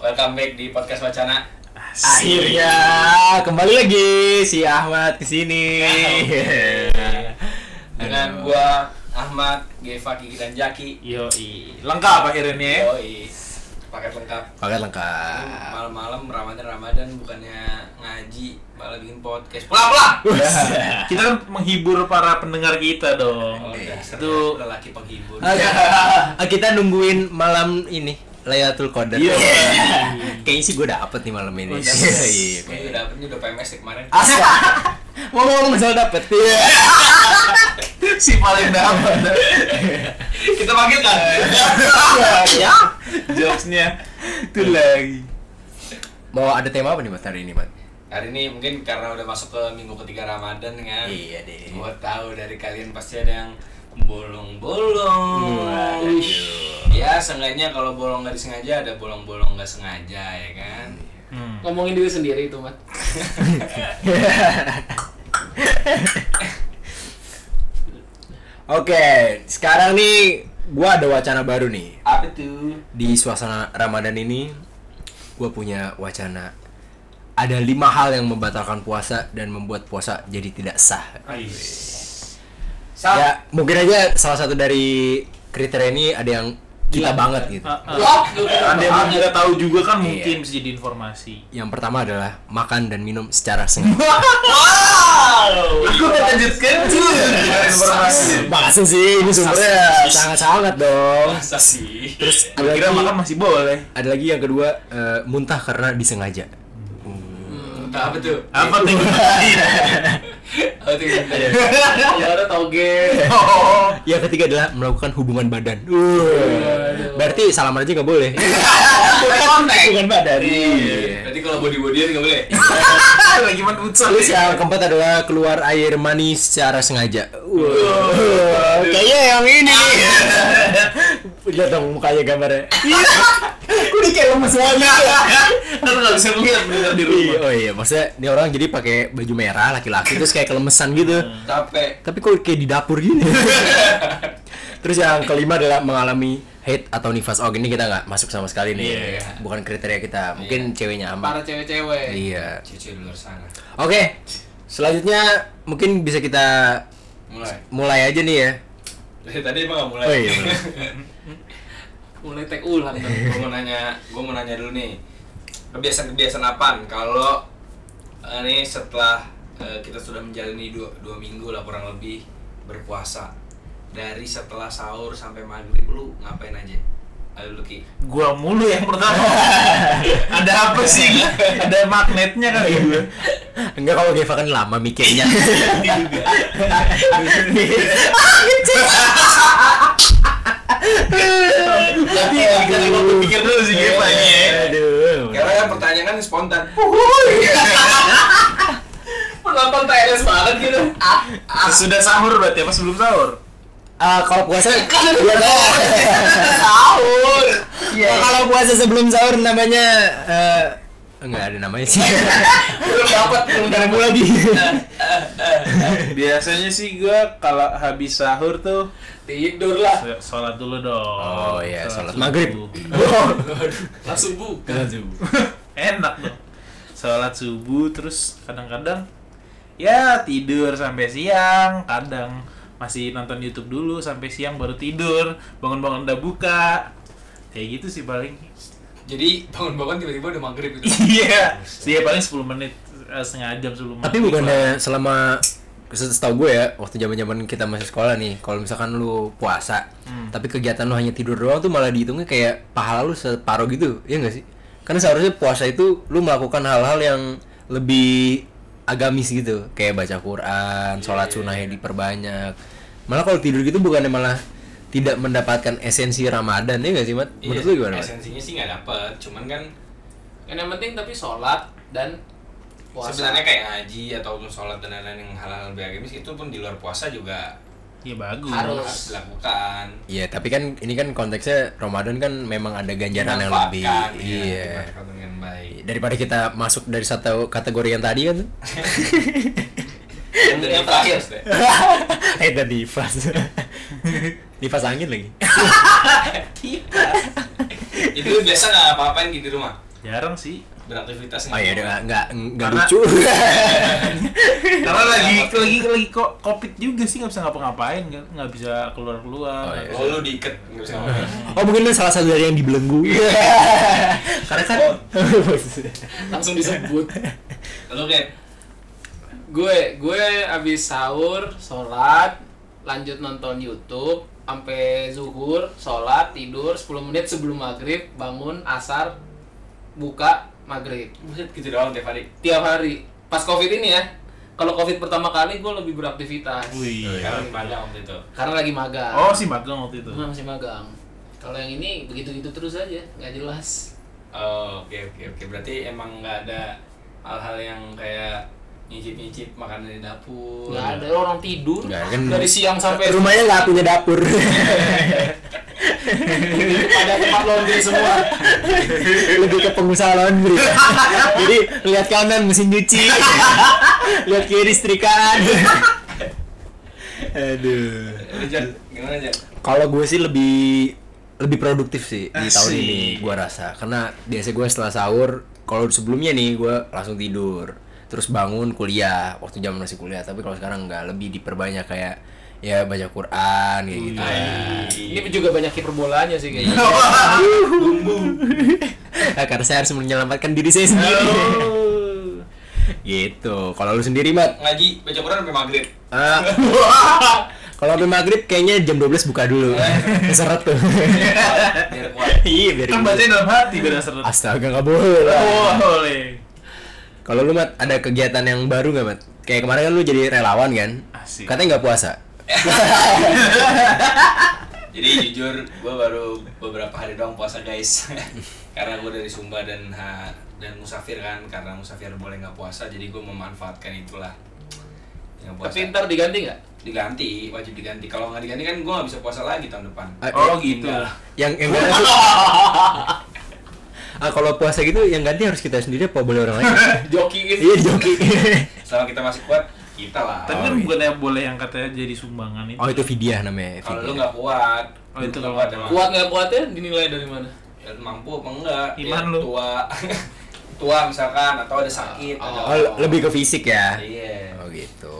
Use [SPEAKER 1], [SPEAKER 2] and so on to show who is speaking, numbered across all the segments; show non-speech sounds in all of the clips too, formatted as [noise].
[SPEAKER 1] welcome back di podcast wacana.
[SPEAKER 2] Akhirnya kembali lagi si Ahmad kesini.
[SPEAKER 1] Dengan gua Ahmad, Gefaki dan Jaki.
[SPEAKER 2] Yo lengkap akhirnya nih ya.
[SPEAKER 1] Yoi. Paket lengkap.
[SPEAKER 2] Paket lengkap.
[SPEAKER 1] Malam-malam Ramadan Ramadan bukannya ngaji, malah bikin podcast. Pulang-pulang.
[SPEAKER 2] [laughs] Ya.
[SPEAKER 3] kita kan menghibur para pendengar kita dong.
[SPEAKER 1] Oh, dasar
[SPEAKER 3] Itu-
[SPEAKER 1] lelaki penghibur.
[SPEAKER 2] Ah, Kita nungguin malam ini Layatul Qadar.
[SPEAKER 3] Iya.
[SPEAKER 2] Kayaknya sih gue dapet nih malam ini. Iya,
[SPEAKER 1] Udah, Gua juga dapet nih iya, udah PMS nih kemarin.
[SPEAKER 2] Asal. Mau ngomong soal dapet. Iya.
[SPEAKER 3] si paling dapat
[SPEAKER 1] Kita panggil kan.
[SPEAKER 2] Ya.
[SPEAKER 3] jokesnya itu lagi.
[SPEAKER 2] Mau ada tema apa nih Mas hari ini, Mas?
[SPEAKER 1] Hari ini mungkin karena udah masuk ke minggu ketiga Ramadan kan.
[SPEAKER 2] Iya deh.
[SPEAKER 1] Gua tahu dari kalian pasti ada yang bolong-bolong.
[SPEAKER 2] Waduh.
[SPEAKER 1] Ya, seenggaknya kalau bolong nggak disengaja ada bolong-bolong nggak sengaja ya kan.
[SPEAKER 3] Hmm.
[SPEAKER 4] ngomongin diri sendiri itu mat
[SPEAKER 2] Oke, sekarang nih gua ada wacana baru nih.
[SPEAKER 1] Apa tuh?
[SPEAKER 2] Di suasana Ramadan ini gua punya wacana ada lima hal yang membatalkan puasa dan membuat puasa jadi tidak sah.
[SPEAKER 1] Sal.
[SPEAKER 2] Ya, mungkin aja salah satu dari kriteria ini ada yang kita banget gitu.
[SPEAKER 3] Ah, ah.
[SPEAKER 4] Wah, lu keren
[SPEAKER 3] Ada yang
[SPEAKER 4] banget.
[SPEAKER 3] kita tahu juga kan mungkin bisa jadi informasi.
[SPEAKER 2] Yang pertama adalah makan dan minum secara sengaja.
[SPEAKER 3] Aku lanjutkan
[SPEAKER 2] Iya.
[SPEAKER 3] Iya, informasi.
[SPEAKER 2] Makasih sih, ini sumbernya sangat-sangat dong.
[SPEAKER 1] Masa sih?
[SPEAKER 2] Terus ada
[SPEAKER 3] Kira
[SPEAKER 2] lagi-
[SPEAKER 3] makan masih boleh.
[SPEAKER 2] Ada lagi yang kedua eh, muntah karena disengaja.
[SPEAKER 1] Entah apa tuh? Oh,
[SPEAKER 3] Apa tuh? [laughs]
[SPEAKER 1] Apa tuh?
[SPEAKER 4] Kalau ada toge
[SPEAKER 3] Oh,
[SPEAKER 2] Yang ketiga adalah melakukan hubungan badan. Berarti salaman aja nggak [laughs] boleh. hubungan badan. Iya.
[SPEAKER 1] Berarti kalau body-bodyan nggak boleh.
[SPEAKER 3] Ah, lagi mana futsal
[SPEAKER 2] Terus yang keempat adalah keluar air mani secara sengaja. Wah. Kayaknya yang ini nih. [laughs] Lihat dong mukanya gambarnya. [laughs] Aku udah kayak lemes [laughs] banget.
[SPEAKER 3] Kan nggak bisa ngeliat bener di
[SPEAKER 2] Iya,
[SPEAKER 3] rumah.
[SPEAKER 2] Oh iya, maksudnya ini orang jadi pakai baju merah laki-laki terus kayak kelemesan gitu.
[SPEAKER 1] Capek.
[SPEAKER 2] Tapi kok kayak di dapur gini. [laughs] Terus yang kelima adalah mengalami hate atau nifas. Oh, ini kita nggak masuk sama sekali nih.
[SPEAKER 3] Iya.
[SPEAKER 2] Bukan kriteria kita. Mungkin ceweknya
[SPEAKER 4] para
[SPEAKER 2] aman.
[SPEAKER 4] cewek-cewek
[SPEAKER 2] Iya.
[SPEAKER 1] Cuci di luar sana.
[SPEAKER 2] Oke. Selanjutnya mungkin bisa kita
[SPEAKER 1] Mulai.
[SPEAKER 2] mulai aja nih ya.
[SPEAKER 1] Dari tadi emang nggak mulai.
[SPEAKER 2] Oh, iya, mulai.
[SPEAKER 1] [laughs]
[SPEAKER 4] mulai tek ulang dong.
[SPEAKER 1] gue mau nanya gue mau nanya dulu nih kebiasaan kebiasaan apa kalau eh, ini setelah eh, kita sudah menjalani dua, dua minggu lah kurang lebih berpuasa dari setelah sahur sampai maghrib lu ngapain aja Eh, Ayo Luki
[SPEAKER 3] Gua mulu yang pertama. Ada apa sih?
[SPEAKER 2] [laughs]
[SPEAKER 3] Ada magnetnya kali ya? gua.
[SPEAKER 2] Enggak kalau Geva kan lama
[SPEAKER 3] [laughs]
[SPEAKER 2] mikirnya. Ah,
[SPEAKER 3] Tapi kita waktu pikir dulu sih Geva ini ya.
[SPEAKER 2] Aduh.
[SPEAKER 1] karena yang pertanyaan kan spontan
[SPEAKER 4] penonton TLS banget gitu
[SPEAKER 3] Sudah sahur berarti apa sebelum sahur?
[SPEAKER 2] Ah, kalau
[SPEAKER 4] [laughs]
[SPEAKER 2] puasa iya, sahur. Oh, kalau puasa sebelum sahur namanya eh, enggak ada namanya sih.
[SPEAKER 4] belum dapat belum Iya.
[SPEAKER 2] Enggak nemu lagi.
[SPEAKER 3] Biasanya sih gua kalau habis sahur tuh
[SPEAKER 4] tidur lah
[SPEAKER 3] Ayo, Ya, sholat dulu dong.
[SPEAKER 2] Oh iya, sholat
[SPEAKER 3] subuh.
[SPEAKER 2] maghrib.
[SPEAKER 4] langsung buka
[SPEAKER 3] Enak dong. Sholat subuh terus kadang-kadang ya tidur sampai siang, kadang masih nonton YouTube dulu sampai siang baru tidur, bangun-bangun udah buka. Kayak gitu sih [laughs] paling.
[SPEAKER 1] jadi bangun-bangun tiba-tiba udah maghrib
[SPEAKER 3] [laughs]
[SPEAKER 1] gitu
[SPEAKER 3] Iya. Dia paling 10 menit eh, setengah jam sebelum
[SPEAKER 2] Tapi
[SPEAKER 3] maghrib lah.
[SPEAKER 2] bukannya selama setahu gue ya waktu zaman zaman kita masih sekolah nih kalau misalkan lu puasa tapi kegiatan lu hanya tidur doang tuh malah dihitungnya kayak pahala lu separuh gitu ya enggak sih karena seharusnya puasa itu lu melakukan hal-hal yang lebih agamis gitu kayak baca Quran sholat sunnah yang diperbanyak malah kalau tidur gitu bukannya malah tidak mendapatkan esensi Ramadan ya enggak sih Mat
[SPEAKER 1] Iya,
[SPEAKER 2] menurut lu gimana Mat?
[SPEAKER 1] esensinya sih nggak dapet cuman kan
[SPEAKER 4] yang yang penting tapi sholat dan puasa
[SPEAKER 1] sebenarnya kayak ngaji atau sholat dan lain-lain yang halal lebih agamis itu pun di luar puasa juga
[SPEAKER 3] ya bagus.
[SPEAKER 4] Harus.
[SPEAKER 1] harus dilakukan
[SPEAKER 2] Iya, tapi kan ini kan konteksnya Ramadan kan memang ada ganjaran yang lebih.
[SPEAKER 1] Dimanfaatkan, ya,
[SPEAKER 2] Iya.
[SPEAKER 1] dimanfaatkan dengan baik
[SPEAKER 2] daripada kita masuk dari satu kategori yang tadi kan [laughs] Iya.
[SPEAKER 1] yang,
[SPEAKER 4] Yang terakhir.
[SPEAKER 1] deh. [laughs]
[SPEAKER 2] eh tadi [laughs] nifas nifas angin lagi
[SPEAKER 1] itu biasa nggak apa-apain gitu di rumah
[SPEAKER 3] jarang sih
[SPEAKER 1] beraktivitas
[SPEAKER 2] Oh iya, udah nggak nggak
[SPEAKER 3] Karena-
[SPEAKER 2] lucu. [laughs]
[SPEAKER 3] karena lagi Iya, lagi lagi kok covid juga sih nggak bisa ngapa-ngapain nggak nggak bisa keluar keluar
[SPEAKER 2] Oh, iya.
[SPEAKER 1] Oh, lu diikat nggak bisa ngomong.
[SPEAKER 2] oh mungkin ini salah satu dari yang dibelenggu. [laughs] karena kan.
[SPEAKER 4] langsung disebut
[SPEAKER 1] Lu kayak
[SPEAKER 4] gue gue abis sahur sholat lanjut nonton YouTube sampai zuhur sholat tidur 10 menit sebelum maghrib bangun asar buka maghrib
[SPEAKER 1] buset gitu doang tiap hari.
[SPEAKER 4] tiap hari pas covid ini ya kalau covid pertama kali gue lebih beraktivitas
[SPEAKER 3] wih
[SPEAKER 2] Iya.
[SPEAKER 1] Karena di Padang waktu itu.
[SPEAKER 4] karena lagi magang
[SPEAKER 3] oh si magang waktu itu
[SPEAKER 2] Hmm.
[SPEAKER 4] Gue masih magang kalau yang ini begitu-gitu terus aja nggak jelas
[SPEAKER 1] Oh, oke oke oke. Berarti emang nggak ada hal-hal yang kayak nyicip-nyicip makanan di dapur.
[SPEAKER 4] nggak ada orang tidur
[SPEAKER 2] Nggak, kan-
[SPEAKER 4] dari siang sampai
[SPEAKER 2] [laughs] Rumahnya nggak punya [laughs] dapur. gitu.
[SPEAKER 4] pada tempat
[SPEAKER 2] [laughs]
[SPEAKER 4] laundry semua
[SPEAKER 2] Lebih ke pengusaha [laughs] laundry. Jadi lihat kanan mesin [laughs] cuci, lihat kiri setrikaan. Aduh.
[SPEAKER 1] Lu, Jan, gimana Jan?
[SPEAKER 2] Kalau gue sih lebih lebih produktif sih di tahun
[SPEAKER 3] Asik.
[SPEAKER 2] ini gue rasa karena biasa gue setelah sahur kalau sebelumnya nih gue langsung tidur terus bangun kuliah waktu jam masih kuliah tapi kalau sekarang nggak lebih diperbanyak kayak ya baca Quran kayak gitu
[SPEAKER 3] Oh, iya.
[SPEAKER 2] lah.
[SPEAKER 4] ini juga banyak hiperbolanya sih kayaknya
[SPEAKER 2] Iya. Nah, [laughs] karena saya harus menyelamatkan diri saya sendiri [laughs] gitu kalau lu sendiri
[SPEAKER 3] [laughs]
[SPEAKER 2] mat
[SPEAKER 1] Ngaji baca Quran sampai
[SPEAKER 2] [laughs]
[SPEAKER 1] maghrib.
[SPEAKER 2] Ah. kalau sampai maghrib kayaknya jam 12 buka
[SPEAKER 3] [laughs]
[SPEAKER 2] dulu seret tuh
[SPEAKER 1] Biar kuat.
[SPEAKER 2] [laughs] iya biar
[SPEAKER 3] kan bacanya dalam hati beda seret
[SPEAKER 2] astaga nggak boleh lah
[SPEAKER 3] Oh, boleh
[SPEAKER 2] Kalau lu Mat, ada kegiatan yang baru nggak Mat? Kayak kemarin kan lu jadi relawan kan?
[SPEAKER 3] Asik.
[SPEAKER 2] Katanya nggak puasa.
[SPEAKER 1] Jadi jujur, gue baru beberapa hari doang puasa guys, [laughs] karena gue dari Sumba dan ha, dan musafir kan, karena musafir boleh nggak puasa, jadi gue memanfaatkan itulah. Yang puasa.
[SPEAKER 4] tapi ntar diganti
[SPEAKER 2] [laughs]
[SPEAKER 4] nggak
[SPEAKER 1] diganti, wajib diganti. Kalau nggak diganti kan gue nggak bisa puasa lagi tahun depan.
[SPEAKER 2] Ah, eh,
[SPEAKER 3] oh gitu
[SPEAKER 2] yang yang bener tuh- ah kalau puasa gitu yang ganti harus kita sendiri apa boleh orang lain?
[SPEAKER 4] joki gitu
[SPEAKER 2] iya joki. [laughs]
[SPEAKER 1] Selama kita masih kuat, kita lah.
[SPEAKER 3] tapi kan bukan yang boleh yang katanya jadi sumbangan itu
[SPEAKER 2] iya. oh itu fidyah namanya.
[SPEAKER 1] Kalau
[SPEAKER 2] fidyah.
[SPEAKER 1] lu nggak kuat,
[SPEAKER 3] Oh, itu
[SPEAKER 1] nggak
[SPEAKER 3] kalau
[SPEAKER 1] kuat
[SPEAKER 3] nggak
[SPEAKER 1] emang.
[SPEAKER 4] kuat nggak kuatnya dinilai dari mana
[SPEAKER 1] Ya, mampu apa enggak?
[SPEAKER 3] Iman
[SPEAKER 1] Ya,
[SPEAKER 3] lu.
[SPEAKER 1] Tua, [laughs] tua misalkan atau ada sakit.
[SPEAKER 4] Oh.
[SPEAKER 1] ada
[SPEAKER 2] Oh,
[SPEAKER 1] apa.
[SPEAKER 2] lebih ke fisik ya.
[SPEAKER 1] Iya.
[SPEAKER 2] Oh gitu.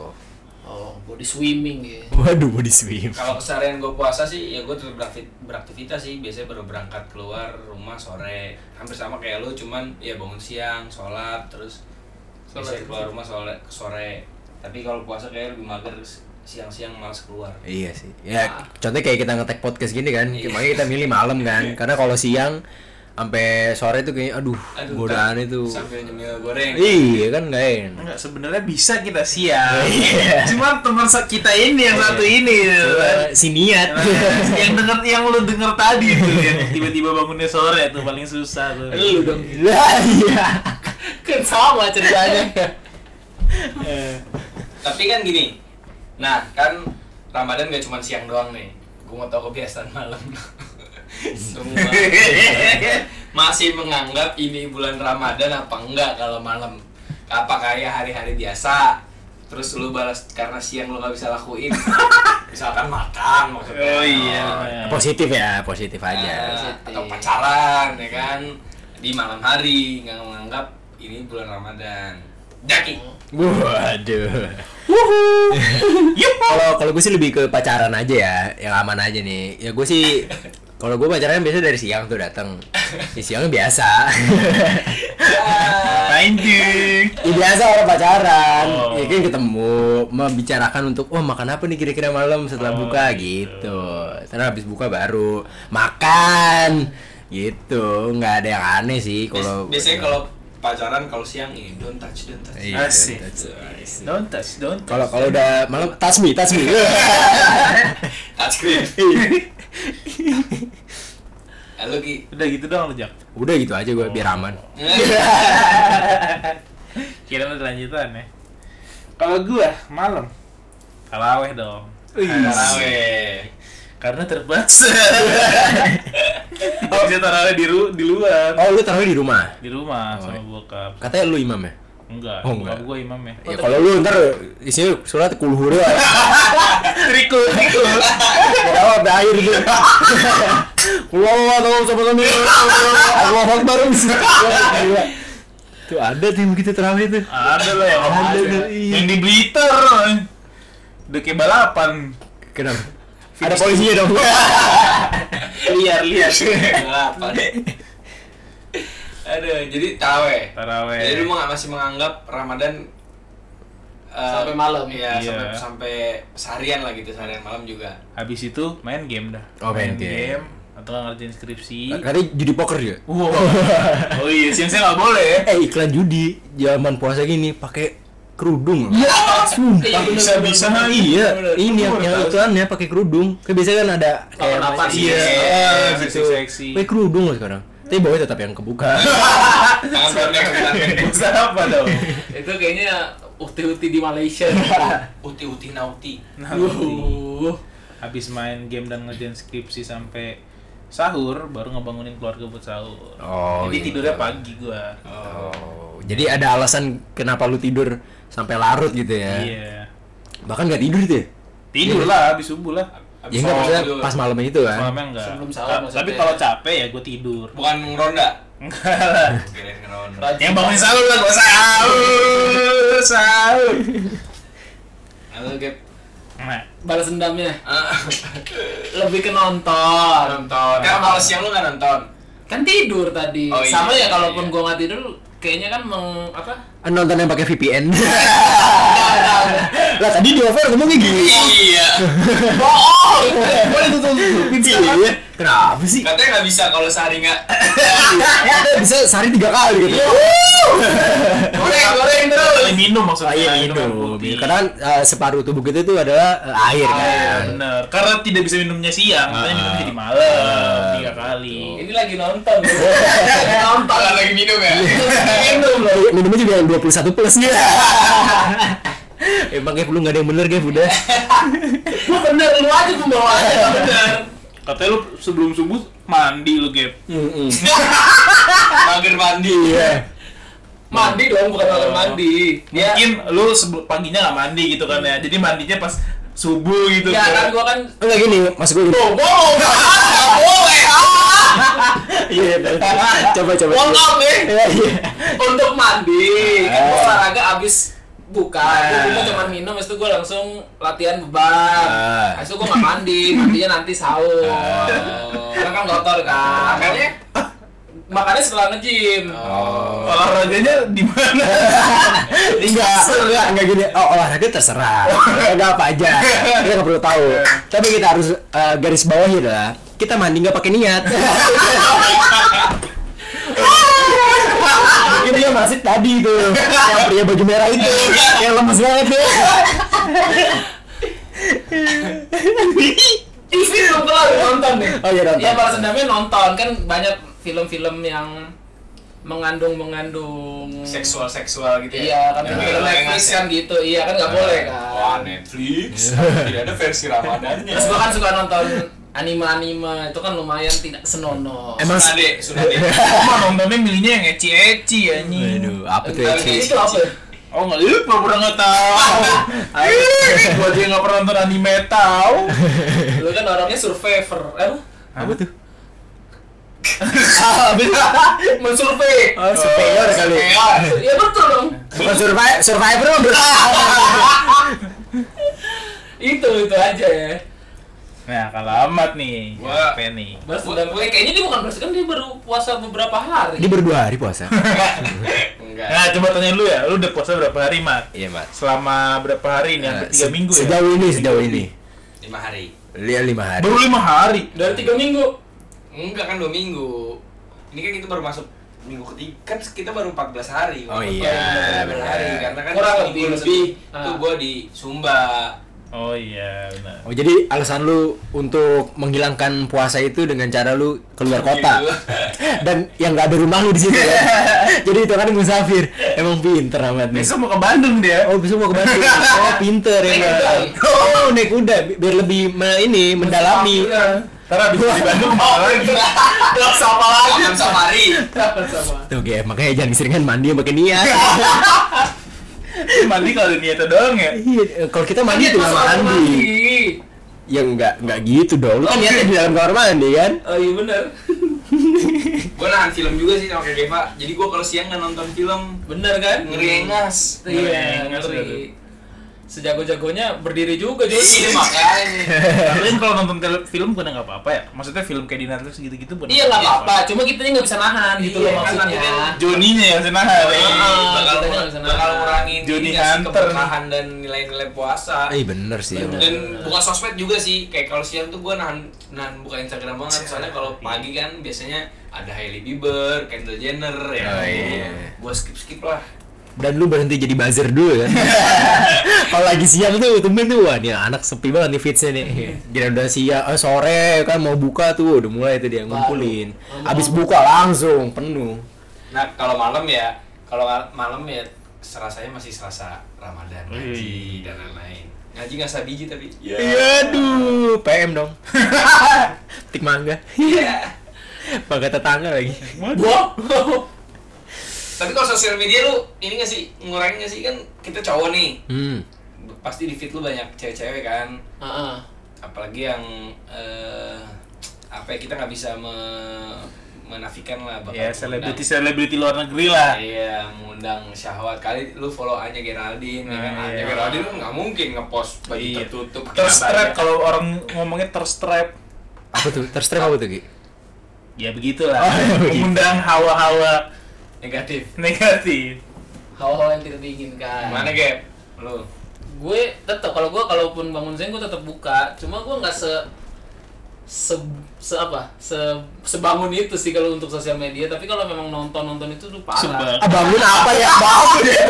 [SPEAKER 4] oh body swimming ya
[SPEAKER 2] Waduh body swim.
[SPEAKER 1] Kalau keseharian gue puasa sih, ya gue tetap berakti- beraktivitas sih. Biasanya baru berangkat keluar rumah sore. Hampir sama kayak lu, cuman ya bangun siang, sholat, terus
[SPEAKER 4] Sholat
[SPEAKER 1] biasanya
[SPEAKER 4] terus.
[SPEAKER 1] keluar rumah sole- sore. Tapi kalau puasa kayak lebih mager siang-siang malas keluar.
[SPEAKER 2] Iya sih. Ya, contohnya kayak kita ngetek podcast gini kan,
[SPEAKER 1] Iya.
[SPEAKER 2] makanya kita milih malam kan. Karena kalau siang sampai sore itu kayaknya aduh, godaan
[SPEAKER 1] ntar
[SPEAKER 2] itu.
[SPEAKER 1] Sambil nyemil goreng.
[SPEAKER 2] Iya kan nggak enak.
[SPEAKER 3] Enggak, sebenarnya bisa kita
[SPEAKER 2] [laughs]
[SPEAKER 3] siap.
[SPEAKER 2] Iya.
[SPEAKER 3] Cuman teman se- kita ini yang satu ini gitu kan.
[SPEAKER 2] Eh, si niat
[SPEAKER 3] [laughs] yang
[SPEAKER 2] [laughs]
[SPEAKER 3] denger yang lu denger tadi tuh yang tiba-tiba bangunnya sore tuh paling susah tuh.
[SPEAKER 4] lu dong
[SPEAKER 2] lah iya
[SPEAKER 4] kan sama
[SPEAKER 2] [laughs]
[SPEAKER 4] ceritanya
[SPEAKER 1] Tapi kan gini, nah kan Ramadan gak cuma siang doang nih. Gue mau tahu kebiasaan malam. [laughs] Semua masih menganggap ini bulan Ramadan apa enggak kalau malam? Apa kayak hari-hari biasa? Terus lu balas karena siang lu gak bisa
[SPEAKER 3] [laughs]
[SPEAKER 1] lakuin. Misalkan makan maksudnya.
[SPEAKER 3] Oh iya.
[SPEAKER 2] positif ya positif aja
[SPEAKER 1] Nah, atau pacaran ya kan di malam hari nggak menganggap ini bulan Ramadan. Daki.
[SPEAKER 3] [laughs]
[SPEAKER 2] waduh [laughs] kalau kalau gue sih lebih ke pacaran aja ya yang aman aja nih ya gue sih kalau gue pacaran biasa dari siang tuh datang di siang biasa [laughs]
[SPEAKER 3] Main
[SPEAKER 2] ya, biasa orang pacaran
[SPEAKER 3] Oh.
[SPEAKER 2] ya kan ketemu membicarakan untuk wah makan apa nih kira-kira malam setelah
[SPEAKER 3] Oh,
[SPEAKER 2] buka
[SPEAKER 3] gitu.
[SPEAKER 2] gitu terus habis buka baru makan gitu nggak ada yang aneh sih kalau
[SPEAKER 1] biasanya kalau Ah, pacaran kalau siang ini don't touch don't touch.
[SPEAKER 2] Iya,
[SPEAKER 3] Asik.
[SPEAKER 2] that's-
[SPEAKER 3] Don't touch, don't touch.
[SPEAKER 2] Kalau kalau udah malam
[SPEAKER 1] [laughs]
[SPEAKER 2] tasmi tasmi.
[SPEAKER 1] [laughs] Touch screen. Halo Eh, Ki. Eh,
[SPEAKER 3] udah gitu doang lu, Jak.
[SPEAKER 2] udah gitu aja gue biar aman. Iya.
[SPEAKER 3] Kira ada lanjutan ya. Kalau gua malam taraweh dong.
[SPEAKER 1] Oh, iya. Taraweh.
[SPEAKER 3] Karena terpaksa. Tidak bisa taraweh di, ru- di luar.
[SPEAKER 2] Oh lu taruh di rumah.
[SPEAKER 3] Di rumah sama
[SPEAKER 2] Oh, iya.
[SPEAKER 3] bokap.
[SPEAKER 2] Katanya lu imam ya?
[SPEAKER 3] Enggak,
[SPEAKER 2] Oh,
[SPEAKER 3] bokap
[SPEAKER 2] enggak.
[SPEAKER 3] gua imam ya.
[SPEAKER 1] Iya.
[SPEAKER 3] [laughs]
[SPEAKER 2] Ya kalau lu
[SPEAKER 1] [laughs]
[SPEAKER 2] ntar isinya surat kulhur ya.
[SPEAKER 3] Trikul, trikul.
[SPEAKER 2] Kenapa air gitu. Allah tolong sama kami. Allah Akbar. Gila. Tuh ada tuh yang begitu terawih tuh.
[SPEAKER 3] Ada lah yang
[SPEAKER 2] Ada
[SPEAKER 3] ada.
[SPEAKER 2] tuh, iya.
[SPEAKER 3] Yang di Blitar. Udah kayak balapan.
[SPEAKER 2] Kenapa? Ada polisinya dong.
[SPEAKER 3] Liar liar.
[SPEAKER 1] Apa Aduh, jadi taraweh.
[SPEAKER 3] Taraweh.
[SPEAKER 1] Jadi lu meng- masih menganggap Ramadan eh,
[SPEAKER 4] Sampai malam.
[SPEAKER 1] Iya, sampai
[SPEAKER 3] Iya.
[SPEAKER 1] sampai seharian lah gitu, seharian malam juga.
[SPEAKER 4] [laughs]
[SPEAKER 3] Habis itu main game dah.
[SPEAKER 2] Oh, main game.
[SPEAKER 3] Atau nggak ngerjain skripsi.
[SPEAKER 2] Katanya judi poker juga.
[SPEAKER 3] Wow. [laughs] Oh iya, siang-siang nggak boleh. ya.
[SPEAKER 2] Eh iklan judi zaman puasa gini pakai kerudung loh.
[SPEAKER 4] Iya,
[SPEAKER 2] Sumpah.
[SPEAKER 3] bisa bisa
[SPEAKER 2] Iya, ini yang, yang iklannya pakai kerudung. Kayak biasanya kan ada kayak
[SPEAKER 4] Lawan apa
[SPEAKER 2] masih-
[SPEAKER 4] sih?
[SPEAKER 2] Iya,
[SPEAKER 3] Iya,
[SPEAKER 2] gitu.
[SPEAKER 3] seksi-seksi.
[SPEAKER 2] Pakai kerudung loh sekarang. Tapi bawahnya tetap yang kebuka.
[SPEAKER 1] Tangan tangan
[SPEAKER 3] Bisa apa [laughs] dong?
[SPEAKER 4] itu kayaknya uti-uti di
[SPEAKER 2] [laughs]
[SPEAKER 4] Malaysia.
[SPEAKER 1] uti-uti nauti.
[SPEAKER 4] Wuh.
[SPEAKER 3] Nah, Habis main game dan ngerjain skripsi sampai sahur baru ngebangunin keluarga buat sahur.
[SPEAKER 2] Oh,
[SPEAKER 3] Jadi
[SPEAKER 2] gitu.
[SPEAKER 3] tidurnya pagi gua.
[SPEAKER 2] Oh, jadi ada alasan kenapa lu tidur sampai larut gitu ya?
[SPEAKER 3] Iya.
[SPEAKER 2] Bahkan gak tidur gitu ya?
[SPEAKER 3] Tidur lah habis subuh lah.
[SPEAKER 2] Ya enggak maksudnya pas malamnya itu kan?
[SPEAKER 3] Malamnya enggak.
[SPEAKER 4] Sebelum sahur
[SPEAKER 3] Ta-
[SPEAKER 4] maksudnya.
[SPEAKER 3] Tapi kalau capek ya gua tidur. [laughs]
[SPEAKER 1] Bukan ngeronda.
[SPEAKER 3] Enggak lah.
[SPEAKER 1] Kirain ngeronda.
[SPEAKER 4] Rajin.
[SPEAKER 3] Yang bangunin sahur lah gua sahur, sahur.
[SPEAKER 1] Halo, [laughs] Gap.
[SPEAKER 3] Nah,
[SPEAKER 4] Balas dendamnya
[SPEAKER 1] Ah,
[SPEAKER 4] lebih ke nonton.
[SPEAKER 1] Nonton. Kan malas siang lu nggak nonton.
[SPEAKER 4] Kan tidur tadi.
[SPEAKER 1] Oh, iya,
[SPEAKER 4] Sama
[SPEAKER 1] iya,
[SPEAKER 4] ya
[SPEAKER 1] iya.
[SPEAKER 4] kalaupun gua nggak tidur kayaknya kan meng apa?
[SPEAKER 2] Ah, Nonton yang pakai VPN. [laughs] lah tadi di over ngomongnya gini.
[SPEAKER 1] Iya.
[SPEAKER 2] Bohong. Boleh tutupin sih. Iya. Kenapa sih?
[SPEAKER 1] Katanya nggak bisa kalau sehari nggak.
[SPEAKER 2] Ada bisa sehari tiga kali gitu.
[SPEAKER 1] Goreng, goreng terus.
[SPEAKER 3] Kali Oh, iya, minum maksudnya.
[SPEAKER 2] Air
[SPEAKER 3] minuman
[SPEAKER 2] minum.
[SPEAKER 3] putih.
[SPEAKER 2] Iya, gitu. Karena kan, eh, separuh tubuh kita itu adalah eh, air
[SPEAKER 3] Iya
[SPEAKER 2] kan.
[SPEAKER 3] bener. Karena tidak bisa minumnya siang, makanya
[SPEAKER 2] Ah.
[SPEAKER 3] minumnya jadi malam tiga kali.
[SPEAKER 4] Ini lagi nonton. [laughs]
[SPEAKER 1] Eh, Nonton lagi minum ya.
[SPEAKER 2] Minum loh. Minumnya juga yang 21 plus nih.
[SPEAKER 4] Iya.
[SPEAKER 2] [laughs] Emang Gap lu gak ada yang bener Gap udah
[SPEAKER 4] lu bener lu aja pembawaannya nggak bener.
[SPEAKER 3] Iya, Katanya lu sebelum subuh mandi lu gap.
[SPEAKER 1] [coughs] Mager mandi.
[SPEAKER 2] Iya
[SPEAKER 4] Mandi dong bukan malam mandi. Ya.
[SPEAKER 3] Mungkin lu sebelum paginya nggak mandi gitu kan ya. Jadi mandinya pas subuh gitu.
[SPEAKER 4] Ya kan gua kan
[SPEAKER 2] Enggak Oh, gini, mas gue gini
[SPEAKER 3] bohong. Nggak boleh.
[SPEAKER 4] ah.
[SPEAKER 2] Iya, coba coba
[SPEAKER 4] warm up nih
[SPEAKER 2] Iya, iya
[SPEAKER 4] untuk mandi. Kan gua
[SPEAKER 2] Ah.
[SPEAKER 4] olahraga abis buka,
[SPEAKER 3] Ah.
[SPEAKER 4] gua cuma minum, habis itu gua langsung latihan beban.
[SPEAKER 2] Ah.
[SPEAKER 4] Habis itu gua nggak mandi, mandinya nanti sahur.
[SPEAKER 1] Ah.
[SPEAKER 4] Karena kan kotor kan.
[SPEAKER 1] Makannya?
[SPEAKER 4] Makannya setelah nge-gym.
[SPEAKER 1] Oh.
[SPEAKER 3] Oh. Olahraganya di
[SPEAKER 2] [laughs]
[SPEAKER 3] mana?
[SPEAKER 2] Enggak, enggak, enggak gini Oh, olahraga [laughs] terserah Enggak apa aja Kita nggak perlu tahu Tapi kita harus eh, garis bawahnya adalah Kita mandi nggak pakai [laughs] niat Itu yang masih tadi itu Yang pria baju merah itu Yang lemes banget [laughs] tuh
[SPEAKER 4] TV belum kelar nonton nih.
[SPEAKER 2] Oh iya, nonton.
[SPEAKER 4] Ya balas
[SPEAKER 2] [laughs]
[SPEAKER 4] dendamnya nonton kan banyak film-film yang mengandung mengandung
[SPEAKER 1] Seksual seksual gitu ya.
[SPEAKER 4] Iya kan
[SPEAKER 1] Yang
[SPEAKER 4] film
[SPEAKER 1] kayak
[SPEAKER 4] Netflix
[SPEAKER 1] ngasih-
[SPEAKER 4] kan gitu. Iya kan nggak boleh kan.
[SPEAKER 1] Wah Netflix, tidak ada versi Ramadannya.
[SPEAKER 4] Terus gua kan suka nonton anime-anime itu kan lumayan tidak senonoh.
[SPEAKER 2] Emang
[SPEAKER 1] Sudah deh, sudah
[SPEAKER 2] [laughs]
[SPEAKER 1] deh.
[SPEAKER 3] Cuma nontonnya milihnya yang eci-eci anjing.
[SPEAKER 2] Aduh, apa tuh
[SPEAKER 4] Entar
[SPEAKER 2] Ci?
[SPEAKER 4] itu
[SPEAKER 2] [laughs]
[SPEAKER 4] apa? ya?
[SPEAKER 3] Oh nggak lu pernah nggak tahu. Ih, Gua aja nggak pernah nonton anime tahu.
[SPEAKER 4] Lu kan orangnya survivor. Eh, apa?
[SPEAKER 2] Apa tuh? [laughs]
[SPEAKER 4] mensurvei.
[SPEAKER 2] Oh, Ah, superior kali
[SPEAKER 4] Ya betul dong.
[SPEAKER 2] Bukan survivor, survivor mah, bro [laughs]
[SPEAKER 4] Itu itu aja ya.
[SPEAKER 3] Nah, kalau amat nih,
[SPEAKER 1] Wah.
[SPEAKER 3] apa nih?
[SPEAKER 4] Balas dendam. Eh, kayaknya dia bukan balas kan dia baru puasa beberapa hari.
[SPEAKER 2] Ini berdua hari puasa
[SPEAKER 1] Enggak.
[SPEAKER 3] Nah, coba tanya lu ya, lu udah puasa berapa hari, Mat?
[SPEAKER 2] Iya, Mat
[SPEAKER 3] Selama berapa hari nih? Hampir
[SPEAKER 2] Eh,
[SPEAKER 3] tiga
[SPEAKER 2] se-
[SPEAKER 3] minggu ya?
[SPEAKER 2] Sejauh ini, sejauh ini
[SPEAKER 1] Lima hari.
[SPEAKER 2] Lihat lima hari
[SPEAKER 3] Baru lima hari.
[SPEAKER 4] Dari tiga minggu.
[SPEAKER 1] Enggak kan dua minggu. Ini kan kita baru masuk minggu ketiga kan kita baru 14 hari.
[SPEAKER 2] Oh
[SPEAKER 1] Baru baru 14
[SPEAKER 2] iya, benar.
[SPEAKER 1] hari karena kan
[SPEAKER 4] Kurang
[SPEAKER 1] seminggu
[SPEAKER 4] lebih,
[SPEAKER 1] lebih
[SPEAKER 4] lebih.
[SPEAKER 1] itu
[SPEAKER 4] Ah.
[SPEAKER 1] gua di Sumba.
[SPEAKER 3] Oh iya, benar.
[SPEAKER 2] Oh jadi alasan lu untuk menghilangkan puasa itu dengan cara lu keluar kota
[SPEAKER 1] Gitu.
[SPEAKER 2] [laughs] dan yang nggak ada rumah lu di situ
[SPEAKER 3] [laughs]
[SPEAKER 2] ya. jadi itu kan musafir emang pinter amat nih.
[SPEAKER 3] Besok mau ke Bandung dia.
[SPEAKER 2] Oh besok mau ke Bandung.
[SPEAKER 3] [laughs]
[SPEAKER 2] Oh pinter ya.
[SPEAKER 4] Naik
[SPEAKER 2] Mbak.
[SPEAKER 4] kuda.
[SPEAKER 2] Oh naik kuda bi- biar lebih me- ini mendalami.
[SPEAKER 3] Iya. Ntar abis dari Bandung mau
[SPEAKER 2] [laughs]
[SPEAKER 3] lagi.
[SPEAKER 1] Sama lagi safari.
[SPEAKER 4] Sama.
[SPEAKER 2] Tuh kayak makanya jangan keseringan mandi yang pakai
[SPEAKER 3] [laughs]
[SPEAKER 2] niat.
[SPEAKER 3] Mandi kalau ada niatnya doang ya.
[SPEAKER 4] Kan
[SPEAKER 2] Iya, eh, kalau kita mandi tuh nggak mandi. Ya enggak, enggak gitu dong. Lu kan niatnya di dalam kamar mandi [laughs] kan?
[SPEAKER 4] Oh iya bener
[SPEAKER 1] gue nahan film juga sih sama kayak Deva jadi gue kalau siang nggak nonton film
[SPEAKER 4] Bener kan?
[SPEAKER 1] ngeri engas
[SPEAKER 4] Iya,
[SPEAKER 3] Ngeri.
[SPEAKER 4] ngeri Sejago-jagonya berdiri juga
[SPEAKER 1] iya
[SPEAKER 4] Jody
[SPEAKER 1] makanya
[SPEAKER 3] Kalian kan kalau nonton tele- film bukan nggak apa-apa ya? Maksudnya film kayak di Netflix gitu-gitu bukan?
[SPEAKER 4] Iya lah apa-apa, cuma kita nggak bisa nahan gitu
[SPEAKER 1] Iya,
[SPEAKER 4] loh
[SPEAKER 1] kan
[SPEAKER 4] maksudnya
[SPEAKER 1] akhirnya
[SPEAKER 3] Joninya yang senang.
[SPEAKER 2] Iya.
[SPEAKER 4] Ah,
[SPEAKER 1] bakal
[SPEAKER 4] kita jangan senang.
[SPEAKER 1] bakal ngurangin
[SPEAKER 3] Johnny
[SPEAKER 1] ini nggak sih,
[SPEAKER 3] Hunter.
[SPEAKER 1] keberkahan dan nilai-nilai puasa
[SPEAKER 2] Eh bener sih.
[SPEAKER 4] Bener.
[SPEAKER 2] emang.
[SPEAKER 1] dan buka sosmed juga sih kayak kalau siang tuh gue nahan nahan buka Instagram banget soalnya kalau pagi kan biasanya ada Hailey Bieber, Kendall Jenner ya
[SPEAKER 2] Oh, iya.
[SPEAKER 1] gue skip skip lah
[SPEAKER 2] Dan lu berhenti jadi buzzer dulu [laughs] kan. Kalau lagi siang tuh temen tuh wah nih anak sepi banget nih feedsnya nih. Jadi udah siang eh, sore kan mau buka tuh udah mulai tuh dia ngumpulin. Abis buka langsung penuh.
[SPEAKER 1] nah kalau malam ya kalau mal- malam ya serasanya masih serasa Ramadan
[SPEAKER 2] Oh,
[SPEAKER 1] ngaji dan lain-lain ngaji nggak sabiji tapi
[SPEAKER 2] Iya aduh, PM [laughs] dong. Tik mangga.
[SPEAKER 1] Iya.
[SPEAKER 2] Mangga tetangga lagi.
[SPEAKER 4] Wow.
[SPEAKER 1] tapi kalau sosial media lu ini nggak sih ngurangin nggak sih kan kita cowok nih
[SPEAKER 2] Hmm.
[SPEAKER 1] pasti di feed lu banyak cewek-cewek kan
[SPEAKER 4] [laughs] Heeh.
[SPEAKER 1] apalagi yang eh, apa ya kita nggak bisa me- menafikan lah bakal
[SPEAKER 3] Ya
[SPEAKER 4] Iya,
[SPEAKER 1] mengundang-
[SPEAKER 3] selebriti selebriti luar negeri lah.
[SPEAKER 1] iya mengundang syahwat kali lu follow Anya Geraldine ya kan
[SPEAKER 3] Nah,
[SPEAKER 1] Anya
[SPEAKER 3] iya.
[SPEAKER 1] Geraldine lu nggak mungkin ngepost baju
[SPEAKER 3] Iya.
[SPEAKER 1] tertutup pakai
[SPEAKER 3] Terstrap
[SPEAKER 1] abaya.
[SPEAKER 3] kalau orang ngomongnya terstrap.
[SPEAKER 2] Apa tuh? Terstrap apa tuh, Ki?
[SPEAKER 3] Ya begitulah.
[SPEAKER 2] Oh, ya begitu.
[SPEAKER 3] Mengundang hawa-hawa
[SPEAKER 1] negatif
[SPEAKER 3] negatif.
[SPEAKER 4] Hal-hal yang tidak diinginkan.
[SPEAKER 1] mana gap lu
[SPEAKER 4] gue tetap kalau gue kalaupun bangun siang gue tetap buka cuma gue nggak se se, se apa se sebangun itu sih kalau untuk sosial media tapi kalau memang nonton nonton itu tuh parah
[SPEAKER 3] Sebab.
[SPEAKER 2] Ah, bangun apa ya? Bangun ya.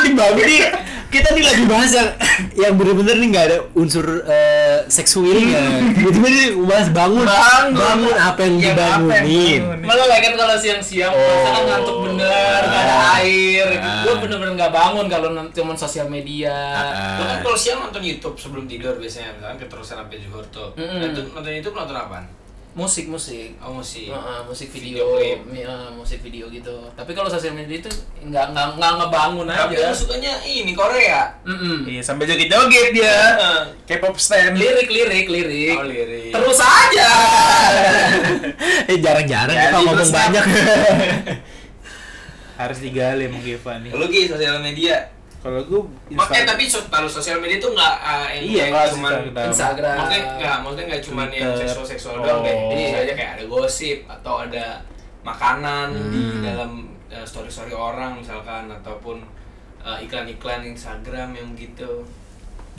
[SPEAKER 2] Ini bangun nih. Kita nih lagi bahas yang yang bener-bener nih nggak ada unsur eh, seksualnya. Tiba-tiba nih bahas bangun.
[SPEAKER 3] Bangun.
[SPEAKER 2] Bangun apa yang
[SPEAKER 3] Yang apa yang
[SPEAKER 2] dibangunin?
[SPEAKER 3] dibangunin?
[SPEAKER 4] malah lah kan kalau siang-siang oh. ngantuk bener nggak ada air
[SPEAKER 2] Ah.
[SPEAKER 4] gue bener-bener nggak bangun kalau non- cuman sosial media
[SPEAKER 1] Lu
[SPEAKER 4] Nah.
[SPEAKER 1] kan kalau siang nonton YouTube sebelum tidur biasanya misalkan keterusan sampai zuhur tuh
[SPEAKER 4] Mm-mm.
[SPEAKER 1] Nah, tuh nonton YouTube nonton apaan
[SPEAKER 4] musik musik
[SPEAKER 1] oh musik
[SPEAKER 4] Heeh, musik video,
[SPEAKER 1] Video clip.
[SPEAKER 4] mi- eh, musik video gitu tapi kalau sosial media itu nggak nggak nggak ngebangun
[SPEAKER 1] tapi
[SPEAKER 4] aja
[SPEAKER 1] lu sukanya ini Korea
[SPEAKER 4] Mm-mm.
[SPEAKER 3] Iya sampai joget-joget dia. K-pop stand.
[SPEAKER 4] lirik lirik lirik
[SPEAKER 1] Oh, lirik.
[SPEAKER 4] Iya. terus aja
[SPEAKER 2] [laughs] Eh jarang-jarang
[SPEAKER 3] Jadi
[SPEAKER 2] kita ngomong
[SPEAKER 3] terstrap.
[SPEAKER 2] banyak.
[SPEAKER 3] Harus digali emang Geva nih.
[SPEAKER 1] Lu Gi, sosial media.
[SPEAKER 3] Kalau gue
[SPEAKER 1] Maksudnya tapi so, kalau sosial media tuh nggak uh, yang
[SPEAKER 3] Iya,
[SPEAKER 1] nggak
[SPEAKER 3] nggak
[SPEAKER 1] cuman
[SPEAKER 3] sosial.
[SPEAKER 4] Instagram
[SPEAKER 1] maksudnya nggak maksudnya nggak cuman yang
[SPEAKER 3] Twitter.
[SPEAKER 1] seksual seksual doang deh. Jadi
[SPEAKER 3] Oh.
[SPEAKER 1] bisa aja kayak ada gosip atau ada makanan
[SPEAKER 3] Hmm.
[SPEAKER 1] di dalam uh, story story orang misalkan ataupun uh, iklan-iklan Instagram yang gitu.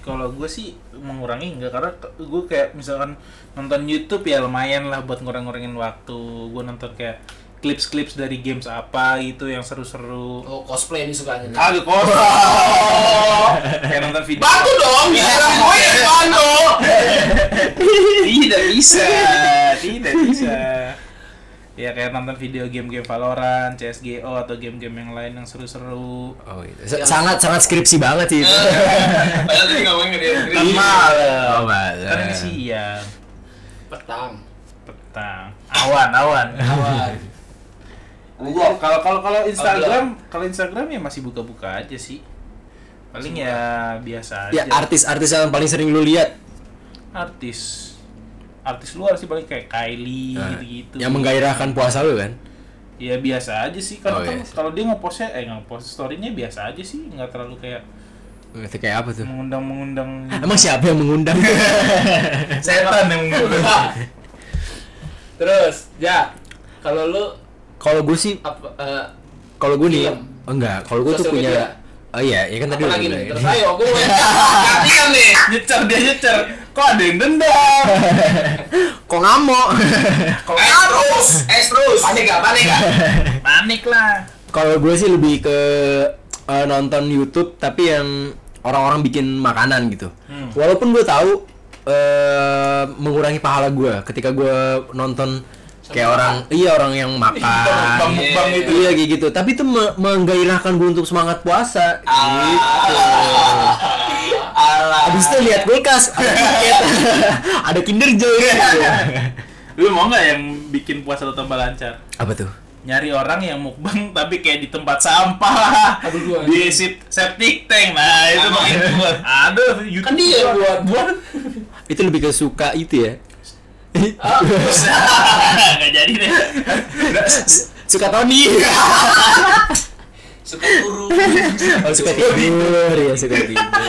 [SPEAKER 3] kalau gue sih mengurangi enggak karena gue kayak misalkan nonton YouTube ya lumayan lah buat ngurang-ngurangin waktu gue nonton kayak clips-clips dari games apa gitu yang seru-seru
[SPEAKER 4] Oh, cosplay ini sukanya. nih.
[SPEAKER 3] kagak kosong kayak nonton video
[SPEAKER 4] Bantu
[SPEAKER 2] [laughs]
[SPEAKER 4] dong, gila. Gue yang bantu.
[SPEAKER 3] tidak bisa Eh, tidak bisa ya kayak nonton video game-game Valorant, CS:GO atau game-game yang lain yang seru-seru
[SPEAKER 2] Oh, gitu. Sa- Sangat sangat skripsi banget sih itu.
[SPEAKER 1] [laughs] Padahal tadi ngomongin ke dia sendiri.
[SPEAKER 3] kan
[SPEAKER 2] Oh,
[SPEAKER 3] malam
[SPEAKER 2] malam.
[SPEAKER 3] kan ini siang
[SPEAKER 4] Petang.
[SPEAKER 3] petang [laughs] awan awan
[SPEAKER 4] Awan.
[SPEAKER 3] Kalau kalau kalau Instagram, kalau Instagram ya masih buka-buka aja sih. Paling ya biasa aja.
[SPEAKER 2] Ya artis-artis yang paling sering lu lihat
[SPEAKER 3] artis. Artis luar sih paling kayak Kylie
[SPEAKER 2] Nah,
[SPEAKER 3] gitu-gitu.
[SPEAKER 2] yang menggairahkan puasa lu kan?
[SPEAKER 3] Ya biasa aja sih.
[SPEAKER 2] Oh,
[SPEAKER 3] Kalau kan
[SPEAKER 2] iya sih.
[SPEAKER 3] kalau dia ngepostnya eh ngepost story-nya biasa aja sih, nggak terlalu kayak
[SPEAKER 2] Itu kayak apa tuh? [laughs]
[SPEAKER 3] mengundang-mengundang
[SPEAKER 2] Emang siapa yang
[SPEAKER 4] [laughs]
[SPEAKER 2] mengundang?
[SPEAKER 3] setan [laughs] yang mengundang.
[SPEAKER 4] Terus, ja. Kalau lu
[SPEAKER 2] Kalau gue sih
[SPEAKER 4] apa eh,
[SPEAKER 2] kalau gue nih
[SPEAKER 4] Film.
[SPEAKER 2] oh, enggak kalau gue tuh
[SPEAKER 4] Sosial media.
[SPEAKER 2] punya oh iya ya kan tadi
[SPEAKER 4] apa
[SPEAKER 2] udah
[SPEAKER 4] lagi
[SPEAKER 2] bilang
[SPEAKER 4] nih?
[SPEAKER 2] ya.
[SPEAKER 4] Terus ayo, gue mau gantikan nih.
[SPEAKER 3] nyecer dia nyecer. Kok ada yang dendam?
[SPEAKER 2] [laughs] kok ngamuk
[SPEAKER 3] Kok
[SPEAKER 1] Eh terus, eh terus. Panik gak, panik gak.
[SPEAKER 2] [laughs]
[SPEAKER 3] panik lah.
[SPEAKER 2] kalau gue sih lebih ke eh, nonton YouTube tapi yang orang-orang bikin makanan gitu
[SPEAKER 3] Hmm.
[SPEAKER 2] walaupun gue tahu eh mengurangi pahala gue ketika gue nonton kayak orang iya orang
[SPEAKER 3] [laughs]
[SPEAKER 2] yang makan
[SPEAKER 3] Bang-bang
[SPEAKER 1] Iya.
[SPEAKER 3] gitu.
[SPEAKER 2] iya kayak gitu tapi itu me- menggairahkan gue untuk semangat puasa
[SPEAKER 1] Gitu. [laughs]
[SPEAKER 3] Ah.
[SPEAKER 1] Alah.
[SPEAKER 2] Abis itu lihat kulkas, ada tiket, [laughs] ada Kinder Joy. Iya.
[SPEAKER 3] Lu mau nggak yang bikin puasa lu tambah lancar?
[SPEAKER 2] Apa tuh?
[SPEAKER 3] nyari orang yang mukbang [laughs] tapi kayak di tempat sampah
[SPEAKER 4] Aduh, gua-
[SPEAKER 3] di sit- septic tank nah itu
[SPEAKER 1] Sama.
[SPEAKER 3] makin buat aduh YouTube
[SPEAKER 4] kan dia yang buat buat
[SPEAKER 2] Itu lebih ke suka itu ya.
[SPEAKER 3] [laughs] Ah. nggak jadi deh
[SPEAKER 2] [laughs] suka Tony.
[SPEAKER 3] [laughs]
[SPEAKER 1] suka [laughs] turun
[SPEAKER 2] oh, suka tidur ya, suka tidur. [laughs]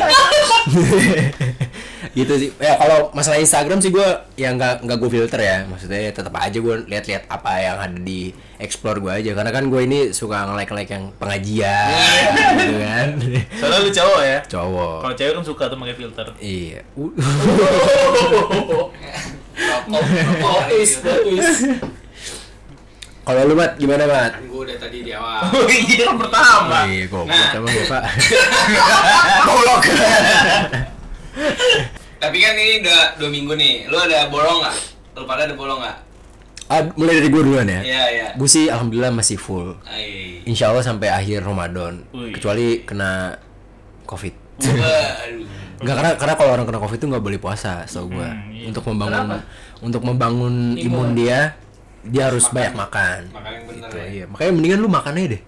[SPEAKER 2] gitu sih. Ya kalau masalah Instagram sih gua ya nggak nggak gue filter ya. Maksudnya tetap aja gua lihat-lihat apa yang ada di explore gua aja. Karena kan gue ini suka nge-like-like yang pengajian gitu kan.
[SPEAKER 3] soalnya lu cowok ya
[SPEAKER 2] Cowok.
[SPEAKER 3] kalau cewek kan suka tuh pakai filter
[SPEAKER 2] Iya.
[SPEAKER 1] rokok
[SPEAKER 4] oh is is
[SPEAKER 2] Kalau lu mat gimana mat?
[SPEAKER 1] gue udah tadi di awal
[SPEAKER 3] iya kan pertama
[SPEAKER 2] Iya, goblok
[SPEAKER 1] Nah.
[SPEAKER 2] emang ya, Pak. [laughs] Goblok.
[SPEAKER 1] tapi kan ini udah dua minggu nih lu ada bolong nggak lu pada ada bolong nggak
[SPEAKER 2] Ah, mulai dari gue duluan ya.
[SPEAKER 1] iya iya
[SPEAKER 2] Gue sih alhamdulillah masih full.
[SPEAKER 1] Ay.
[SPEAKER 2] Insya Allah sampai akhir Ramadan.
[SPEAKER 3] Wih.
[SPEAKER 2] Kecuali kena COVID.
[SPEAKER 1] Waduh.
[SPEAKER 2] Enggak karena karena kalau orang kena COVID itu nggak boleh puasa, so gue
[SPEAKER 3] Hmm, iya.
[SPEAKER 2] untuk membangun
[SPEAKER 4] Kenapa?
[SPEAKER 2] untuk membangun imun
[SPEAKER 4] Imun.
[SPEAKER 2] dia dia harus
[SPEAKER 1] Makan.
[SPEAKER 2] banyak makan.
[SPEAKER 1] Makan yang bener
[SPEAKER 2] Gitu,
[SPEAKER 1] ya.
[SPEAKER 2] iya. Makanya mendingan lu makan aja deh.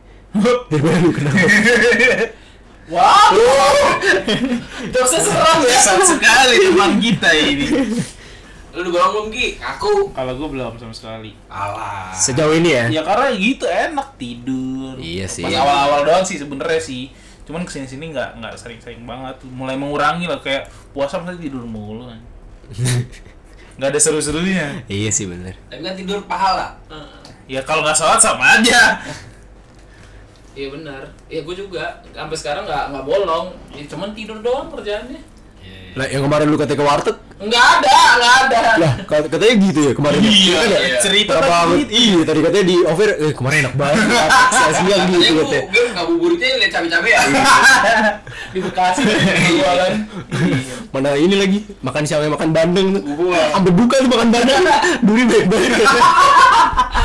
[SPEAKER 2] Daripada lu kena COVID.
[SPEAKER 4] wow jokesnya serem ya
[SPEAKER 3] Besar sekali teman kita ini
[SPEAKER 1] lu udah bolong belum ki aku
[SPEAKER 3] kalau gue belum sama sekali
[SPEAKER 1] alah
[SPEAKER 2] [laughs] Sejauh ini ya.
[SPEAKER 3] ya karena gitu enak tidur
[SPEAKER 2] Iya sih.
[SPEAKER 3] pas awal-awal doang sih sebenernya sih cuman kesini-sini nggak nggak sering-sering banget mulai mengurangi lah kayak puasa masa tidur mulu
[SPEAKER 2] [laughs]
[SPEAKER 3] kan nggak ada seru-serunya
[SPEAKER 2] Iya sih bener.
[SPEAKER 1] tapi kan tidur pahala
[SPEAKER 3] ya kalau nggak sholat sama
[SPEAKER 2] [laughs]
[SPEAKER 3] aja
[SPEAKER 4] iya benar iya gue juga sampai sekarang nggak nggak bolong ya, cuman tidur doang kerjaannya
[SPEAKER 2] Lah yang kemarin lu katanya ke warteg,
[SPEAKER 4] nggak ada nggak ada [laughs]
[SPEAKER 2] lah kat- katanya gitu ya kemarin. ya?
[SPEAKER 3] Iya,
[SPEAKER 2] Kan ya?
[SPEAKER 1] iya.
[SPEAKER 3] Cerita
[SPEAKER 2] Berapa
[SPEAKER 3] tadi.
[SPEAKER 2] menit? Iya, tadi katanya di over eh kemarin enak banget. Saya siang
[SPEAKER 1] Katanya
[SPEAKER 2] gitu
[SPEAKER 1] gue
[SPEAKER 2] katanya.
[SPEAKER 1] gue ngabuburitnya liat cabe-cabe ya
[SPEAKER 2] Iya.
[SPEAKER 4] di bekasi jualan
[SPEAKER 2] Mana ini lagi makan siang makan bandeng tuh.
[SPEAKER 3] Gua.
[SPEAKER 2] Sampai buka tuh makan
[SPEAKER 4] [laughs]
[SPEAKER 2] bandeng. Duri baik banget. katanya.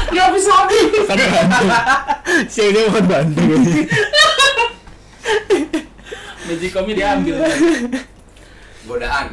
[SPEAKER 4] nggak bisa habis
[SPEAKER 2] Makan bandeng. Siang dia makan bandeng.
[SPEAKER 4] magicomnya diambil
[SPEAKER 1] [laughs] godaan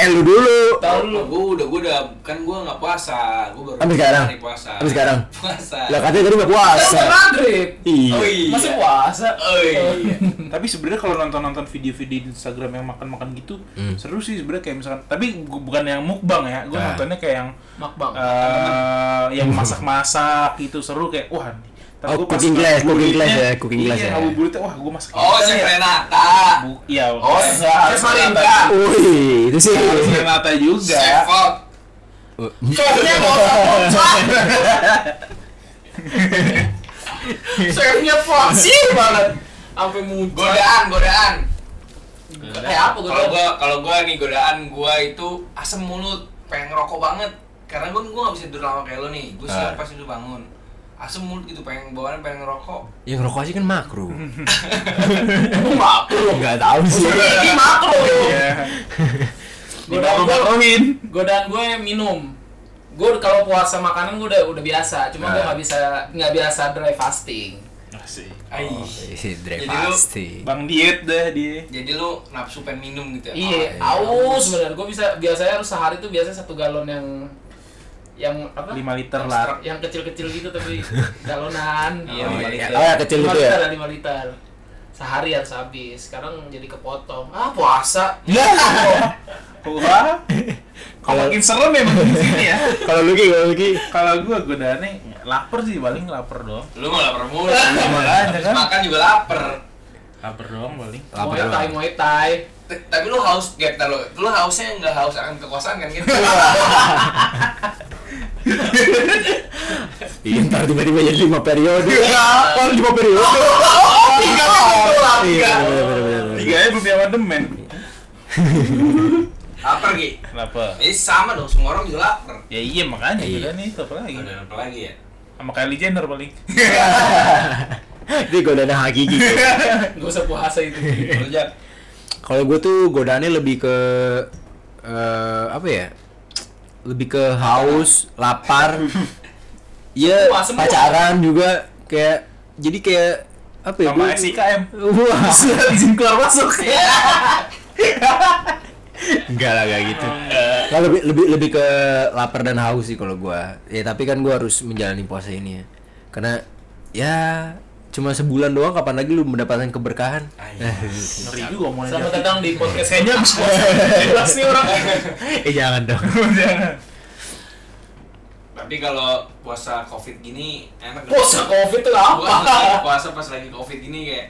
[SPEAKER 2] eh lu dulu.
[SPEAKER 4] tahu dulu
[SPEAKER 1] gue udah gue udah kan gue nggak puasa gue baru
[SPEAKER 2] Sampai sekarang?
[SPEAKER 1] hari puasa
[SPEAKER 2] Sampai sekarang?
[SPEAKER 1] puasa
[SPEAKER 2] Lah katanya tadi nggak puasa.
[SPEAKER 4] Kan maghrib
[SPEAKER 1] oh
[SPEAKER 2] Iya.
[SPEAKER 1] iya
[SPEAKER 4] masa puasa
[SPEAKER 1] oh iya
[SPEAKER 3] Hmm. tapi sebenarnya kalau nonton-nonton video-video di Instagram yang makan-makan gitu
[SPEAKER 2] Hmm.
[SPEAKER 3] seru sih sebenarnya kayak misalkan tapi gua- bukan yang mukbang ya gue
[SPEAKER 2] Ah.
[SPEAKER 3] nontonnya kayak yang
[SPEAKER 4] makbang
[SPEAKER 3] eh yang masak-masak gitu seru kayak wah nih. Ntar
[SPEAKER 2] Hmm. Oh,
[SPEAKER 3] gua pas
[SPEAKER 2] cooking class, cooking class
[SPEAKER 3] ngabuburitnya-
[SPEAKER 2] ya, cooking class
[SPEAKER 3] iya,
[SPEAKER 2] ya.
[SPEAKER 3] ngabuburitnya, wah gue masak
[SPEAKER 1] oh
[SPEAKER 3] ikan
[SPEAKER 1] chef
[SPEAKER 3] ya.
[SPEAKER 1] Renata
[SPEAKER 3] Bu- iya,
[SPEAKER 1] oh
[SPEAKER 3] eh,
[SPEAKER 1] chef
[SPEAKER 2] Ah,
[SPEAKER 3] harus
[SPEAKER 1] Renata
[SPEAKER 3] Renata.
[SPEAKER 2] Wih, Oh, iya. itu sih.
[SPEAKER 3] Harus Renata juga.
[SPEAKER 1] chef Fox.
[SPEAKER 4] Chefnya bocah Chefnya foxy banget Sampai muncul
[SPEAKER 1] godaan godaan
[SPEAKER 4] Kayak apa gue
[SPEAKER 1] kalau gue kalau gue nih godaan gue itu asam mulut pengen ngerokok banget karena gue gue nggak bisa tidur lama kayak lo nih gue siang
[SPEAKER 2] Ah.
[SPEAKER 1] pasti udah bangun asam mulut gitu pengen bawaan pengen ngerokok
[SPEAKER 2] Yang rokok aja kan makro.
[SPEAKER 4] makro
[SPEAKER 2] Enggak tahu sih.
[SPEAKER 4] Ini makro
[SPEAKER 3] Iya.
[SPEAKER 4] [laughs] Godaan gue
[SPEAKER 3] Dimakruh-makruhin.
[SPEAKER 4] Godaan gue minum Gue kalau puasa makanan gue udah udah biasa Cuma gue
[SPEAKER 2] Nah.
[SPEAKER 4] gak bisa nggak biasa dry fasting
[SPEAKER 3] Asik.
[SPEAKER 1] Aih.
[SPEAKER 2] Si Dre
[SPEAKER 1] Jadi lu-
[SPEAKER 2] pasti.
[SPEAKER 3] Bang diet dah dia.
[SPEAKER 1] jadi lo nafsu pengen minum gitu ya
[SPEAKER 4] Iya, aus bener Gue bisa biasanya harus sehari tuh biasanya satu galon yang yang apa?
[SPEAKER 3] 5 liter lah.
[SPEAKER 4] yang kecil-kecil gitu
[SPEAKER 1] [laughs]
[SPEAKER 4] tapi galonan
[SPEAKER 1] Iya,
[SPEAKER 2] Oh,
[SPEAKER 1] lima
[SPEAKER 2] iya.
[SPEAKER 1] liter.
[SPEAKER 2] Oh, yang kecil
[SPEAKER 4] Lima
[SPEAKER 2] itu ya.
[SPEAKER 4] liter lah, lima liter sehari harus habis sekarang jadi kepotong ah puasa
[SPEAKER 3] Wah. Kok
[SPEAKER 2] Kalau-
[SPEAKER 3] makin serem ya makin sini ya.
[SPEAKER 2] Kalau lu Ki, kalau lu Ki.
[SPEAKER 3] [laughs] Kalau gua godaannya lapar sih paling lapar doang.
[SPEAKER 1] lu iya. mau lapar mulu
[SPEAKER 3] Makanya
[SPEAKER 1] Habis
[SPEAKER 3] kan.
[SPEAKER 1] makan juga lapar
[SPEAKER 3] Lapar doang paling.
[SPEAKER 2] Lapar
[SPEAKER 4] muay thai
[SPEAKER 2] doang.
[SPEAKER 4] muay thai [laughs]
[SPEAKER 1] T- tapi lu haus gak ntar lu lu hausnya nggak haus akan kekuasaan kan gitu
[SPEAKER 2] Iya, ntar tiba-tiba jadi lima periode.
[SPEAKER 4] Iya.
[SPEAKER 2] Kalau lima periode.
[SPEAKER 4] Oh,
[SPEAKER 1] tiga lah
[SPEAKER 2] Iya, bener, bener, bener, bener.
[SPEAKER 3] Tiga aja belum punya amandemen.
[SPEAKER 1] [laughs] lapar Gi.
[SPEAKER 3] Kenapa?
[SPEAKER 1] ini sama dong semua orang juga lapar
[SPEAKER 3] Ya iya makanya
[SPEAKER 2] Iya.
[SPEAKER 3] godaannya itu apa lagi?
[SPEAKER 1] udah apa lagi ya
[SPEAKER 3] Sama Kylie Jenner paling.
[SPEAKER 2] Ini godaan hakiki.
[SPEAKER 4] gak usah puasa itu
[SPEAKER 1] lu jak
[SPEAKER 2] Kalau gue tuh godaannya lebih ke eh, apa ya? Lebih ke haus, lapar. Iya,
[SPEAKER 4] Wah, semua.
[SPEAKER 2] pacaran juga kayak jadi kayak apa ya?
[SPEAKER 3] Sama
[SPEAKER 2] gua-
[SPEAKER 3] SIKM.
[SPEAKER 2] Wah, [laughs]
[SPEAKER 3] Izin keluar masuk.
[SPEAKER 2] enggak lah enggak gitu. Nah, lebih lebih lebih ke lapar dan haus sih kalau gua. Ya tapi kan gua harus menjalani puasa ini ya. karena ya cuma sebulan doang kapan lagi lu mendapatkan keberkahan
[SPEAKER 1] Ayah.
[SPEAKER 3] Ngeri juga omongannya.
[SPEAKER 4] Selamat datang di podcast
[SPEAKER 3] Kayaknya habis puasa. Jelas nih orang.
[SPEAKER 2] [laughs] eh jangan dong
[SPEAKER 3] Jangan.
[SPEAKER 1] Tapi kalau puasa covid gini enak nggak?
[SPEAKER 4] Puasa covid itu apa?
[SPEAKER 1] Gua lagi puasa pas lagi covid gini kayak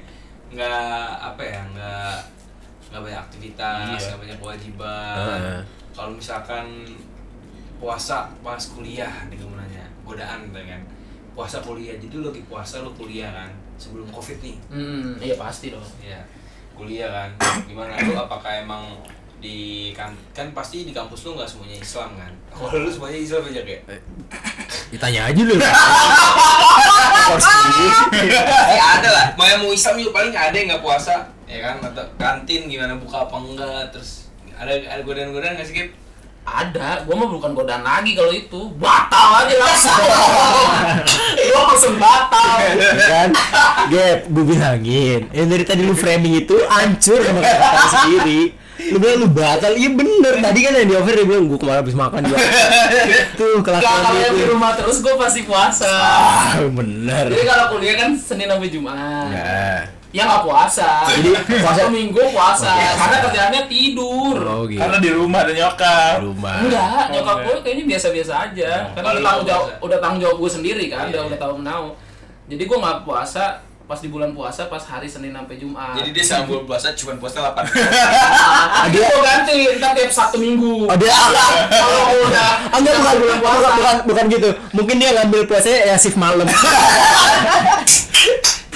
[SPEAKER 1] nggak apa ya nggak nggak banyak aktivitas
[SPEAKER 3] Iya.
[SPEAKER 1] nggak banyak kewajiban
[SPEAKER 2] Heeh.
[SPEAKER 1] kalau misalkan puasa pas kuliah nih gue mau nanya godaan gitu kan puasa kuliah jadi lu lagi puasa lu kuliah kan sebelum covid nih
[SPEAKER 4] Hmm, iya pasti dong.
[SPEAKER 1] ya kuliah kan gimana lu apakah emang di kan, kan pasti di kampus lu nggak semuanya Islam kan kalau lu semuanya Islam aja kayak
[SPEAKER 2] ditanya aja lu
[SPEAKER 1] ya ada lah mau yang mau Islam juga paling ada yang nggak puasa ya kan atau kantin gimana buka apa enggak terus ada ada godaan-godaan nggak sih Kip?
[SPEAKER 4] Ada, gua mah bukan godaan lagi kalau itu. Batal aja langsung. gua langsung batal.
[SPEAKER 2] Ya kan Gap, gue bilangin yang dari tadi lu framing itu hancur sama kata sendiri lu bilang lu batal iya bener tadi kan yang di offer dia bilang gue kemarin habis makan juga itu
[SPEAKER 4] Kalau
[SPEAKER 2] kelakuan
[SPEAKER 4] kalau
[SPEAKER 2] dia
[SPEAKER 4] yang di
[SPEAKER 2] tuh
[SPEAKER 4] rumah terus gua pasti puasa.
[SPEAKER 2] ah bener
[SPEAKER 4] Jadi kalau kuliah kan Senin sampai Jumat.
[SPEAKER 2] Nah.
[SPEAKER 4] Ya nggak puasa.
[SPEAKER 2] Jadi, puasa-
[SPEAKER 4] minggu puasa. Karena kerjaannya tidur.
[SPEAKER 2] oh gitu
[SPEAKER 3] Karena di rumah ada nyokap.
[SPEAKER 2] Di rumah
[SPEAKER 4] Enggak,
[SPEAKER 3] Oh,
[SPEAKER 4] nyokap
[SPEAKER 3] enggak.
[SPEAKER 4] gue kayaknya biasa-biasa aja.
[SPEAKER 2] Iya.
[SPEAKER 4] Karena
[SPEAKER 1] Kalau
[SPEAKER 4] udah
[SPEAKER 1] lu
[SPEAKER 4] tanggung
[SPEAKER 1] nggak
[SPEAKER 4] jawab,
[SPEAKER 1] puasa.
[SPEAKER 4] udah tanggung jawab gue sendiri kan,
[SPEAKER 1] Iya,
[SPEAKER 4] udah
[SPEAKER 1] iya.
[SPEAKER 4] udah tahu menau. Jadi gue nggak puasa pas di bulan puasa pas hari Senin sampai Jumat.
[SPEAKER 1] jadi dia sambil puasa cuma puasa [laughs] 8
[SPEAKER 4] Nah, nanti gue ganti ntar tiap Sabtu Minggu.
[SPEAKER 2] ada ah,
[SPEAKER 4] Kalau gua udah
[SPEAKER 2] ah, enggak bukan bukan, bukan bukan bukan gitu mungkin dia ngambil puasanya ya shift
[SPEAKER 4] [laughs]
[SPEAKER 2] malam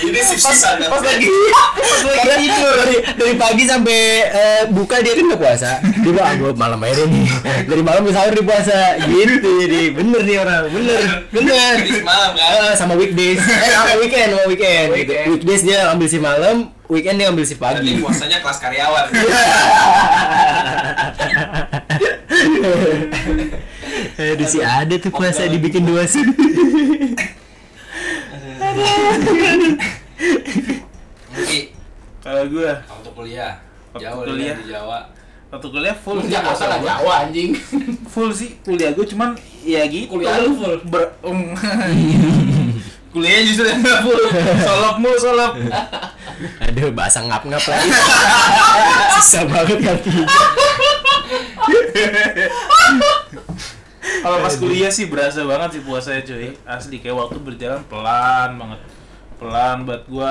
[SPEAKER 1] jadi dia sip-sipan kan?
[SPEAKER 2] Karena tidur dari, dari pagi sampai eh, buka dia kan nggak puasa. Dia bilang "Ah, gua malam aja deh nih. Dari malam sampai sahur dia puasa. Gitu jadi bener nih orang. Bener. Bener.
[SPEAKER 1] Jadi semalam kan
[SPEAKER 2] Eh, sama weekdays. Eh sama weekend, sama weekend. gitu.
[SPEAKER 4] Weekend.
[SPEAKER 2] Weekdays dia ambil si malam, weekend dia ambil si
[SPEAKER 1] Berarti
[SPEAKER 2] pagi.
[SPEAKER 1] puasanya kelas karyawan
[SPEAKER 2] Aduh sih ada tuh puasa dibikin dua sih.
[SPEAKER 1] mungkin
[SPEAKER 3] Kalau gua
[SPEAKER 1] waktu kuliah
[SPEAKER 3] Waktu
[SPEAKER 1] jauh
[SPEAKER 3] kuliah.
[SPEAKER 1] kuliah. di Jawa
[SPEAKER 3] waktu kuliah full
[SPEAKER 4] Lu
[SPEAKER 3] sih
[SPEAKER 4] Jakarta
[SPEAKER 3] puasa
[SPEAKER 4] lah
[SPEAKER 3] gua.
[SPEAKER 4] Jawa anjing.
[SPEAKER 3] Full sih kuliah gua cuman ya gitu.
[SPEAKER 4] Kuliah lu full.
[SPEAKER 3] Ber um. Kuliahnya justru yang nggak full. Solop mulu solop.
[SPEAKER 2] Aduh bahasa ngap-ngap [laughs] lagi. Susah banget kaki.
[SPEAKER 3] Kalau pas kuliah sih berasa banget sih puasanya cuy. Asli kayak waktu berjalan pelan banget. Pelan buat gua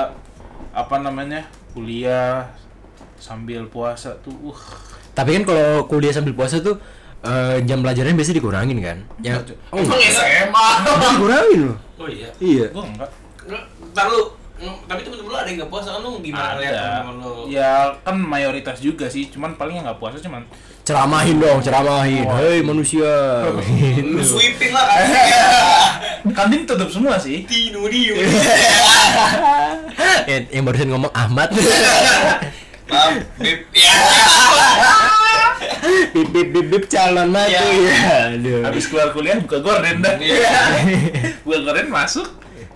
[SPEAKER 3] apa namanya? Kuliah sambil puasa tuh. Uh.
[SPEAKER 2] Tapi kan kalau kuliah sambil puasa tuh eh, jam pelajarannya biasanya dikurangin kan? Ya, oh,
[SPEAKER 4] Emang
[SPEAKER 2] enggak.
[SPEAKER 4] SMA.
[SPEAKER 2] dikurangin loh.
[SPEAKER 1] oh iya
[SPEAKER 2] Iya.
[SPEAKER 3] Gua enggak.
[SPEAKER 1] ntar lu mm, tapi temen-temen lu ada yang nggak puasa kan lu gimana lihat temen lu
[SPEAKER 3] Ya kan mayoritas juga sih, cuman paling yang nggak puasa cuman
[SPEAKER 2] Ceramahin dong, ceramahin.
[SPEAKER 3] Wah.
[SPEAKER 2] Hei manusia.
[SPEAKER 1] lu
[SPEAKER 2] Gitu.
[SPEAKER 1] sweeping lah [laughs] kan
[SPEAKER 3] kantin tutup semua sih.
[SPEAKER 1] tidur dia
[SPEAKER 2] Eh, [laughs] yang barusan ngomong Ahmad.
[SPEAKER 1] maaf beb ya
[SPEAKER 2] bip bip bip bip calon mati.
[SPEAKER 1] Iya.
[SPEAKER 2] Ya, [laughs] aduh.
[SPEAKER 3] Habis keluar kuliah buka gorden dah.
[SPEAKER 1] Iya.
[SPEAKER 3] [laughs] Buka gorden masuk.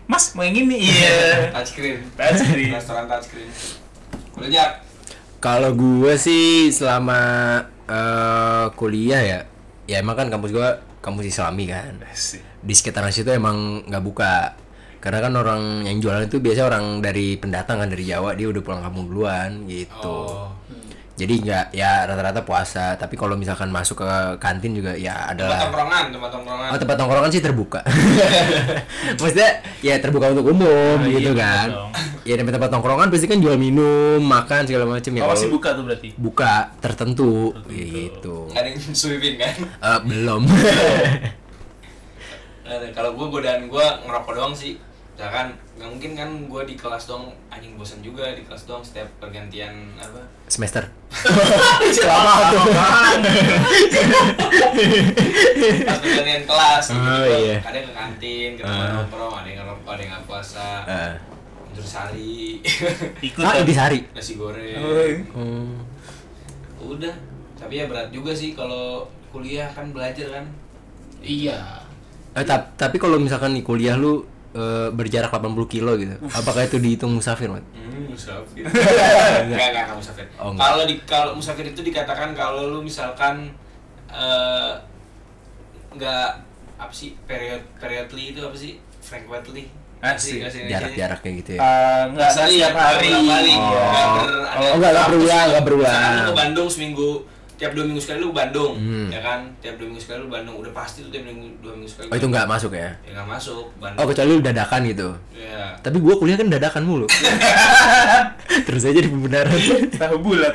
[SPEAKER 3] Mas mau yang ini. Iya.
[SPEAKER 1] touchscreen
[SPEAKER 3] Touchscreen.
[SPEAKER 1] restoran touchscreen udah jak
[SPEAKER 2] Kalau gue sih selama eh, kuliah ya, ya emang kan kampus gue kampus Islami kan.
[SPEAKER 3] Asik.
[SPEAKER 2] di sekitaran situ emang nggak buka karena kan orang yang jualan itu biasa orang dari pendatang kan dari Jawa dia udah pulang kampung duluan gitu
[SPEAKER 1] oh
[SPEAKER 2] jadi nggak ya rata-rata puasa tapi kalau misalkan masuk ke kantin juga ya
[SPEAKER 1] tempat
[SPEAKER 2] adalah
[SPEAKER 1] tongkrongan tempat tongkrongan
[SPEAKER 2] Oh, tempat tongkrongan sih terbuka [laughs] maksudnya ya terbuka untuk umum
[SPEAKER 3] Ah,
[SPEAKER 2] gitu
[SPEAKER 3] iya,
[SPEAKER 2] kan
[SPEAKER 3] dong.
[SPEAKER 2] ya di tempat tongkrongan pasti kan jual minum makan segala macam
[SPEAKER 1] Iya.
[SPEAKER 2] ya
[SPEAKER 3] Oh, masih
[SPEAKER 2] kalau
[SPEAKER 3] buka tuh berarti.
[SPEAKER 2] buka tertentu
[SPEAKER 3] Tertentu.
[SPEAKER 2] gitu
[SPEAKER 1] ada yang [laughs] sweeping kan
[SPEAKER 2] Eh, belum [laughs]
[SPEAKER 1] Nggak ada. kalau gue godaan gue ngerokok doang sih misalkan nggak mungkin kan gue di kelas doang anjing bosan juga di kelas doang setiap pergantian apa
[SPEAKER 2] semester lama tuh
[SPEAKER 1] pas pergantian kelas
[SPEAKER 2] [laughs] Oh,
[SPEAKER 1] tiba-tiba
[SPEAKER 2] iya. Ah.
[SPEAKER 1] ada yang ke kantin ke tempat nongkrong ada yang ngerokok ada yang nggak puasa
[SPEAKER 2] Eh.
[SPEAKER 1] tidur sari
[SPEAKER 3] Ikut.
[SPEAKER 2] ah
[SPEAKER 3] kan?
[SPEAKER 2] di sehari
[SPEAKER 1] [laughs] nasi goreng
[SPEAKER 3] Oh.
[SPEAKER 2] Hmm.
[SPEAKER 1] udah tapi ya berat juga sih kalau kuliah kan belajar kan
[SPEAKER 4] Iya.
[SPEAKER 2] Eh, tap- tapi kalau misalkan di kuliah lu eh, berjarak 80 kilo gitu, apakah itu dihitung musafir, Mat?
[SPEAKER 1] Hmm, musafir. [laughs] Enggak, enggak, enggak musafir.
[SPEAKER 2] Oh, enggak.
[SPEAKER 1] kalau di kalau musafir itu dikatakan kalau lu misalkan eh enggak apa sih period periodly itu apa sih frequently Asik,
[SPEAKER 2] Ah,
[SPEAKER 1] asik.
[SPEAKER 3] Asik.
[SPEAKER 2] jarak-jarak kayak gitu ya
[SPEAKER 3] Eh, Nggak ada
[SPEAKER 1] Sering,
[SPEAKER 3] setiap hari.
[SPEAKER 1] beberapa kali. Nggak ber- ada-
[SPEAKER 2] Oh, enggak, enggak berulang, enggak berulang.
[SPEAKER 1] Misalkan lu ke Bandung seminggu tiap dua minggu sekali lu ke Bandung
[SPEAKER 2] Hmm.
[SPEAKER 1] ya kan tiap dua minggu sekali lu ke Bandung udah pasti tuh tiap minggu dua minggu sekali
[SPEAKER 2] Oh itu nggak masuk ya?
[SPEAKER 1] ya nggak masuk Bandung
[SPEAKER 2] Oh kecuali lu dadakan gitu.
[SPEAKER 1] ya
[SPEAKER 2] Tapi gua kuliah kan dadakan [laughs] mulu. [laughs] Terus aja di pembenaran.
[SPEAKER 3] Tahu bulat.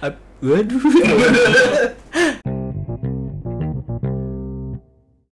[SPEAKER 2] Ap- Waduh.